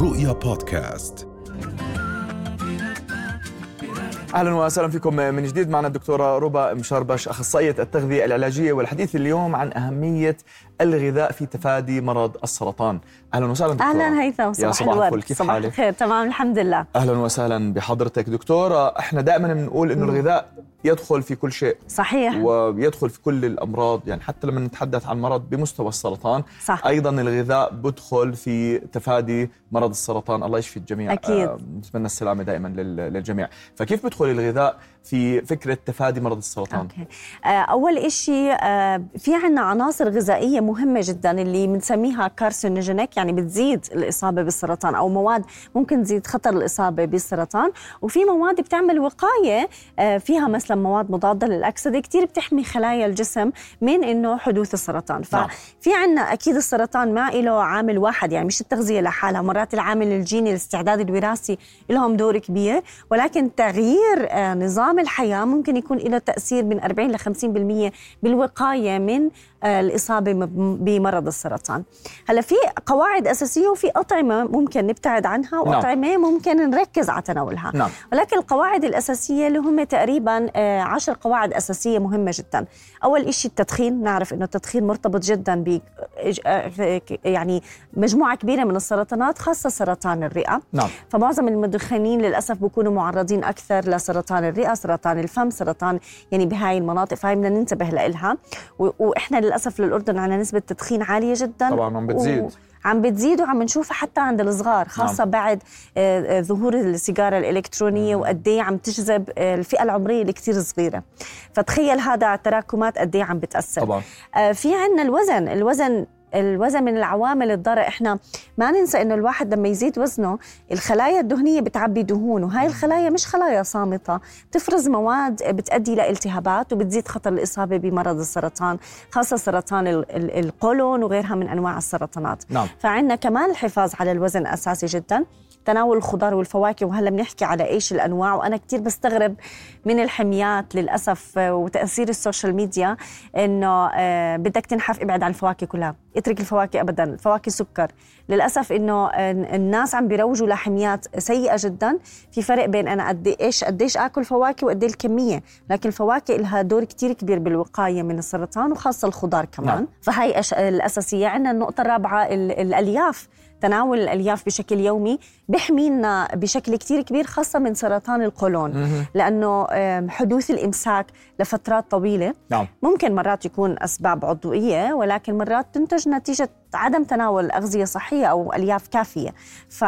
رؤيا بودكاست اهلا وسهلا فيكم من جديد معنا الدكتوره ربا مشربش اخصائيه التغذيه العلاجيه والحديث اليوم عن اهميه الغذاء في تفادي مرض السرطان اهلا وسهلا دكتوره اهلا هيثم يا صباح صباح الفل الورد كيف صباح حالك الخير تمام الحمد لله اهلا وسهلا بحضرتك دكتوره احنا دائما بنقول انه الغذاء يدخل في كل شيء صحيح ويدخل في كل الامراض يعني حتى لما نتحدث عن مرض بمستوى السرطان صح ايضا الغذاء بدخل في تفادي مرض السرطان الله يشفي الجميع أكيد. آه، نتمنى السلامه دائما لل- للجميع فكيف بدخل الغذاء في فكره تفادي مرض السرطان اوكي آه، اول إشي آه، في عنا عناصر غذائيه مهمه جدا اللي بنسميها كارسينوجينيك يعني بتزيد الاصابه بالسرطان او مواد ممكن تزيد خطر الاصابه بالسرطان وفي مواد بتعمل وقايه آه، فيها مثلا مواد مضاده للاكسده كثير بتحمي خلايا الجسم من انه حدوث السرطان نعم. ففي عنا اكيد السرطان ما له عامل واحد يعني مش التغذيه لحالها مرات العامل الجيني الاستعداد الوراثي لهم دور كبير ولكن تغيير آه، نظام الحياة ممكن يكون له تأثير من 40 ل 50% بالوقاية من آه، الإصابة م- بمرض السرطان هلا في قواعد أساسية وفي أطعمة ممكن نبتعد عنها وأطعمة ممكن نركز على تناولها نعم ولكن القواعد الأساسية اللي هم تقريبا آه، عشر قواعد أساسية مهمة جدا أول إشي التدخين نعرف إنه التدخين مرتبط جدا ب يعني مجموعة كبيرة من السرطانات خاصة سرطان الرئة نعم فمعظم المدخنين للاسف بيكونوا معرضين اكثر لسرطان الرئه، سرطان الفم، سرطان يعني بهاي المناطق فهي بدنا ننتبه لها و- واحنا للاسف للاردن عندنا نسبه تدخين عاليه جدا طبعا عم بتزيد عم بتزيد وعم نشوفها حتى عند الصغار خاصه نعم. بعد آه، آه، ظهور السيجاره الالكترونيه وقد ايه عم تجذب آه، الفئه العمريه اللي كثير صغيره فتخيل هذا على التراكمات قد ايه عم بتاثر طبعا آه، في عندنا الوزن الوزن الوزن من العوامل الضارة احنا ما ننسى انه الواحد لما يزيد وزنه الخلايا الدهنية بتعبي دهون وهاي الخلايا مش خلايا صامتة بتفرز مواد بتؤدي لالتهابات وبتزيد خطر الإصابة بمرض السرطان خاصة سرطان ال- ال- القولون وغيرها من أنواع السرطانات نعم فعندنا كمان الحفاظ على الوزن اساسي جدا تناول الخضار والفواكه وهلا بنحكي على ايش الانواع وانا كثير بستغرب من الحميات للاسف آه، وتاثير السوشيال ميديا انه آه، بدك تنحف ابعد عن الفواكه كلها اترك الفواكه ابدا الفواكه سكر للاسف انه آه، الناس عم بيروجوا لحميات سيئه جدا في فرق بين انا قد ايش قد ايش اكل فواكه وقد ايه الكميه لكن الفواكه لها دور كثير كبير بالوقايه من السرطان وخاصه الخضار كمان نعم. نعم. فهي أش- الاساسيه عندنا النقطه الرابعه ال- الالياف تناول الالياف بشكل يومي بحمينا بشكل كتير كبير خاصه من سرطان القولون مهم. لانه آم، حدوث الامساك لفترات طويله نعم ممكن مرات يكون اسباب عضويه ولكن مرات تنتج نتيجه عدم تناول اغذيه صحيه او الياف كافيه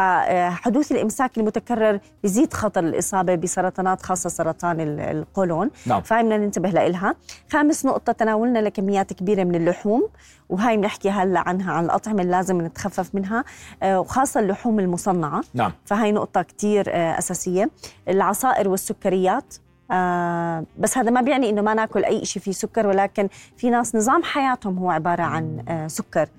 فحدوث الامساك آه، المتكرر بيزيد خطر الاصابه بسرطانات خاصه سرطان ال- القولون نعم فهاي بدنا ننتبه لإلها خامس نقطة تناولنا لكميات كبيرة من اللحوم وهاي بنحكي هلا عنها عن الأطعمة اللي لازم نتخفف منها آه، وخاصة اللحوم المصنعة نعم فهاي نقطة كتير آه، أساسية العصائر والسكريات آه بس هذا ما بيعني انه ما ناكل اي شيء فيه سكر ولكن في ناس نظام حياتهم هو عباره عن آه سكر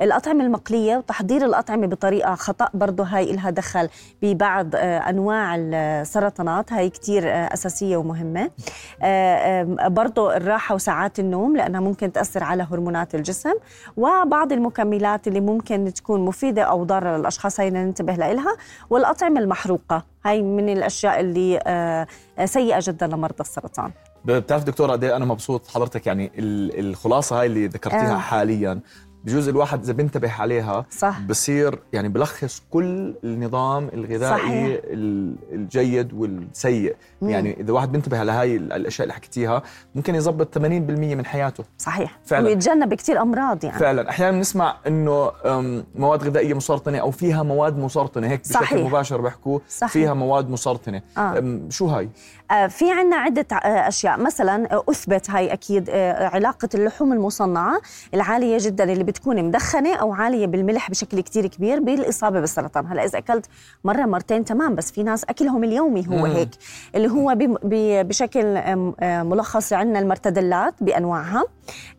الاطعمه المقليه وتحضير الاطعمه بطريقه خطا برضه هاي لها دخل ببعض آه انواع السرطانات هاي كتير آه اساسيه ومهمه آه، آه، برضو الراحة وساعات النوم لأنها ممكن تأثر على هرمونات الجسم وبعض المكملات اللي ممكن تكون مفيدة أو ضارة للأشخاص هاي بدنا ننتبه لها والأطعمة المحروقة هاي من الأشياء اللي آه، آه، سيئة جدا لمرضى السرطان بتعرف دكتوره قد إيه انا مبسوط حضرتك يعني ال- الخلاصه هاي اللي ذكرتيها آه. حاليا بجوز الواحد اذا بينتبه عليها صح بصير يعني بلخص كل النظام الغذائي صحيح. ال- الجيد والسيء مم. يعني اذا واحد بينتبه على هاي ال- الاشياء اللي حكيتيها ممكن يظبط 80% من حياته صحيح فعلاً. ويتجنب كتير أمراض يعني فعلا احيانا بنسمع انه أم، مواد غذائيه مسرطنه او فيها مواد مسرطنه هيك بشكل صحيح. مباشر بحكوا صحيح. فيها مواد مسرطنه آه. أم، شو هاي آه، في عنا عدة آه، أشياء مثلا آه، أثبت هاي أكيد آه، علاقة اللحوم المصنعة العالية جدا اللي بتكون مدخنة أو عالية بالملح بشكل كتير كبير بالإصابة بالسرطان هلأ إذا أكلت مرة مرتين تمام بس في ناس أكلهم اليومي هو مم. هيك اللي هو بم- ب- بشكل آم، آه، ملخص عندنا المرتدلات بأنواعها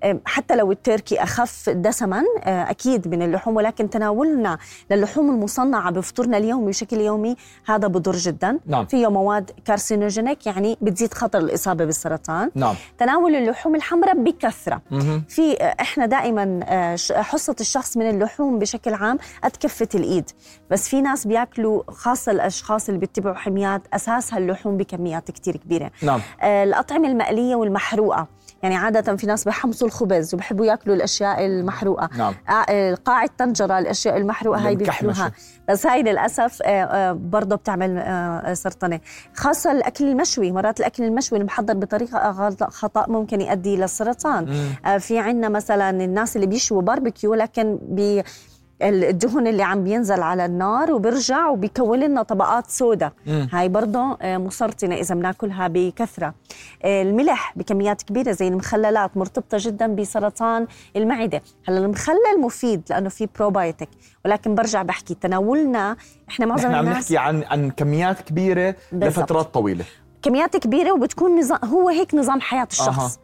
آم، حتى لو التركي أخف دسما آه، أكيد من اللحوم ولكن تناولنا للحوم المصنعة بفطورنا اليومي بشكل يومي هذا بضر جدا نعم فيه مواد كارسينوجينيك لذلك يعني بتزيد خطر الاصابه بالسرطان نعم تناول اللحوم الحمراء بكثره مهم. في آه، احنا دائما آه، ش- حصه الشخص من اللحوم بشكل عام قد كفه الايد بس في ناس بياكلوا خاصه الاشخاص اللي بيتبعوا حميات اساسها اللحوم بكميات كتير كبيره نعم آه، الأطعمة المقلية والمحروقة يعني عادة في ناس بحمصوا الخبز وبحبوا ياكلوا الأشياء المحروقة نعم آه، قاع الطنجرة الأشياء المحروقة هاي المكحمشة. بياكلوها بس هاي للأسف آه، آه، برضه بتعمل آه، سرطانة خاصة الأكل المشوي مرات الأكل المشوي المحضر بطريقة غلط- خطأ ممكن يؤدي للسرطان مم. آه، في عنا مثلا الناس اللي بيشوا باربيكيو لكن بي الدهن اللي عم بينزل على النار وبرجع وبيكون لنا طبقات سودا مم. هاي برضه آه، مسرطنة إذا بناكلها بكثرة آه، الملح بكميات كبيرة زي المخللات مرتبطة جدا بسرطان المعدة هلا المخلل مفيد لأنه فيه بروبايوتيك ولكن برجع بحكي تناولنا إحنا معظم نحن عم الناس نحكي عن عن كميات كبيره بالضبط. لفترات طويله كميات كبيرة وبتكون نظام هو هيك نظام حياة الشخص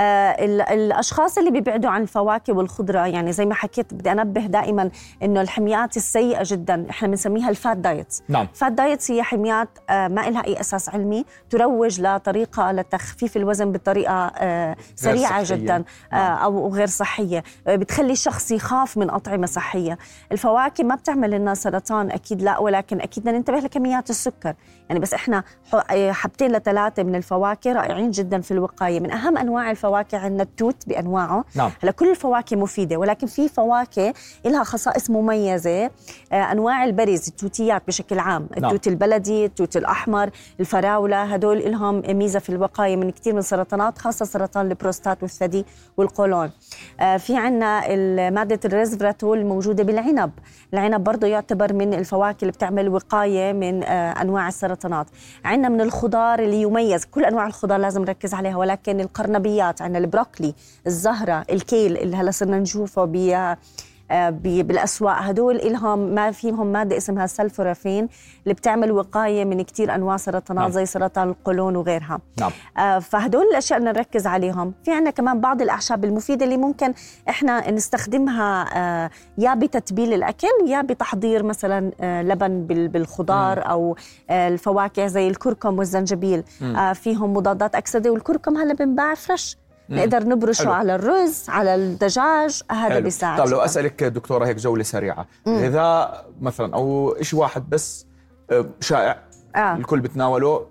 آه ال- الاشخاص اللي بيبعدوا عن الفواكه والخضره يعني زي ما حكيت بدي انبه دائما انه الحميات السيئه جدا احنا بنسميها الفات دايتس نعم فات دايتس هي حميات آه، ما لها أي أساس علمي تروج لطريقة لتخفيف الوزن بطريقة آه، سريعة صحية. جدا آه، نعم. أو غير صحية آه، بتخلي الشخص يخاف من أطعمة صحية الفواكه ما بتعمل لنا سرطان أكيد لا ولكن أكيد بدنا ننتبه لكميات السكر يعني بس إحنا ح- آه، حبتين لثلاثة من الفواكه رائعين جدا في الوقاية من أهم أنواع الفواكه عندنا التوت بأنواعه نعم هلا كل الفواكه مفيده ولكن في فواكه لها خصائص مميزه آه، انواع البرز التوتيات بشكل عام نعم. التوت البلدي التوت الاحمر الفراوله هدول لهم ميزه في الوقايه من كثير من السرطانات خاصه سرطان البروستات والثدي والقولون آه، في عنا ال- ماده الريزفراتول الموجوده بالعنب العنب برضه يعتبر من الفواكه اللي بتعمل وقايه من آه، انواع السرطانات عندنا من الخضار اللي يميز كل انواع الخضار لازم نركز عليها ولكن القرنبيات عندنا البروكلي الزهره الكيل اللي هلا صرنا نشوفه ب آه، ب- بالاسواق هدول الهم ما فيهم ماده اسمها سلفورافين اللي بتعمل وقايه من كتير انواع نعم. سرطانات زي سرطان القولون وغيرها نعم آه، فهدول الاشياء بدنا نركز عليهم في عنا كمان بعض الاعشاب المفيده اللي ممكن احنا نستخدمها آه، يا بتتبيل الاكل يا بتحضير مثلا آه، لبن بال- بالخضار او آه، الفواكه زي الكركم والزنجبيل مم. آه، فيهم مضادات اكسده والكركم هلا بنباع فريش مم. نقدر نبرشه حلو. على الرز على الدجاج هذا حلو. بيساعد طب لو جداً. اسالك دكتوره هيك جوله سريعه مم. غذاء مثلا او شيء واحد بس آه، شائع آه. الكل بتناوله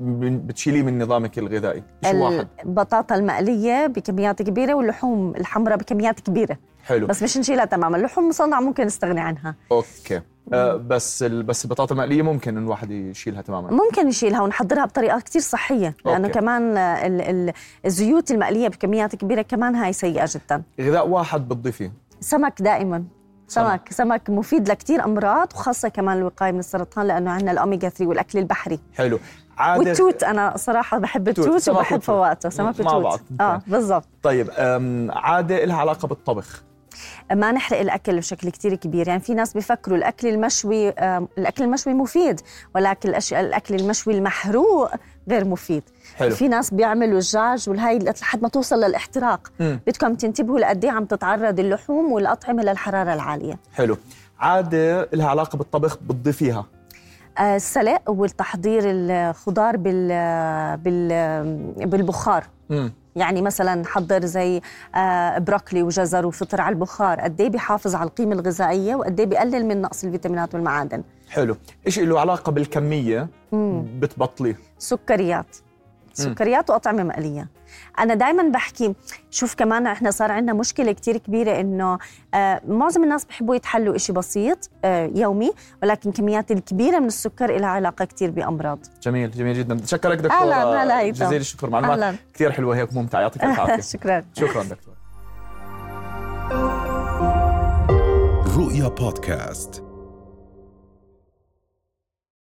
بن- بتشيليه من نظامك الغذائي شيء واحد البطاطا المقليه بكميات كبيره واللحوم الحمراء بكميات كبيره حلو بس مش نشيلها تماما اللحوم مصنعه ممكن نستغني عنها اوكي آه بس ال... بس البطاطا المقليه ممكن إن الواحد يشيلها تماما ممكن نشيلها ونحضرها بطريقه كتير صحيه لانه أوكي. كمان آه، ال- ال- الزيوت المقليه بكميات كبيره كمان هاي سيئه جدا غذاء واحد بتضيفيه سمك دائما سمك سمك مفيد لكتير امراض وخاصه كمان الوقايه من السرطان لانه عندنا الاوميجا 3 والاكل البحري حلو عاده والتوت انا صراحه بحب توت، التوت سمك وبحب وتوت. فواته سمك مع بعض. وتوت اه بالضبط طيب آم، عاده لها علاقه بالطبخ ما نحرق الاكل بشكل كتير كبير يعني في ناس بيفكروا الاكل المشوي آه، الاكل المشوي مفيد ولكن الاشياء الاكل المشوي المحروق غير مفيد حلو. في ناس بيعملوا الدجاج والهاي لحد ما توصل للاحتراق مم. بدكم تنتبهوا لقد إيه عم تتعرض اللحوم والاطعمه للحراره العاليه حلو عاده لها علاقه بالطبخ بتضيفيها آه، السلق والتحضير الخضار بال بال بالبخار امم يعني مثلا حضر زي آه، بروكلي وجزر وفطر على البخار قد ايه بيحافظ على القيمه الغذائيه وقد ايه بيقلل من نقص الفيتامينات والمعادن حلو ايش له علاقه بالكميه مم. بتبطليه سكريات سكريات واطعمه مقليه انا دائما بحكي شوف كمان احنا صار عندنا مشكله كتير كبيره انه آه معظم الناس بحبوا يتحلوا إشي بسيط آه يومي ولكن كميات الكبيره من السكر لها علاقه كتير بامراض جميل جميل جدا بتشكرك أهلاً، دكتوره هلا هيثم. جزيل الشكر معلومات اهلا كثير حلوه هيك ممتعه يعطيك الف عافيه شكرا شكرا دكتور رؤيا بودكاست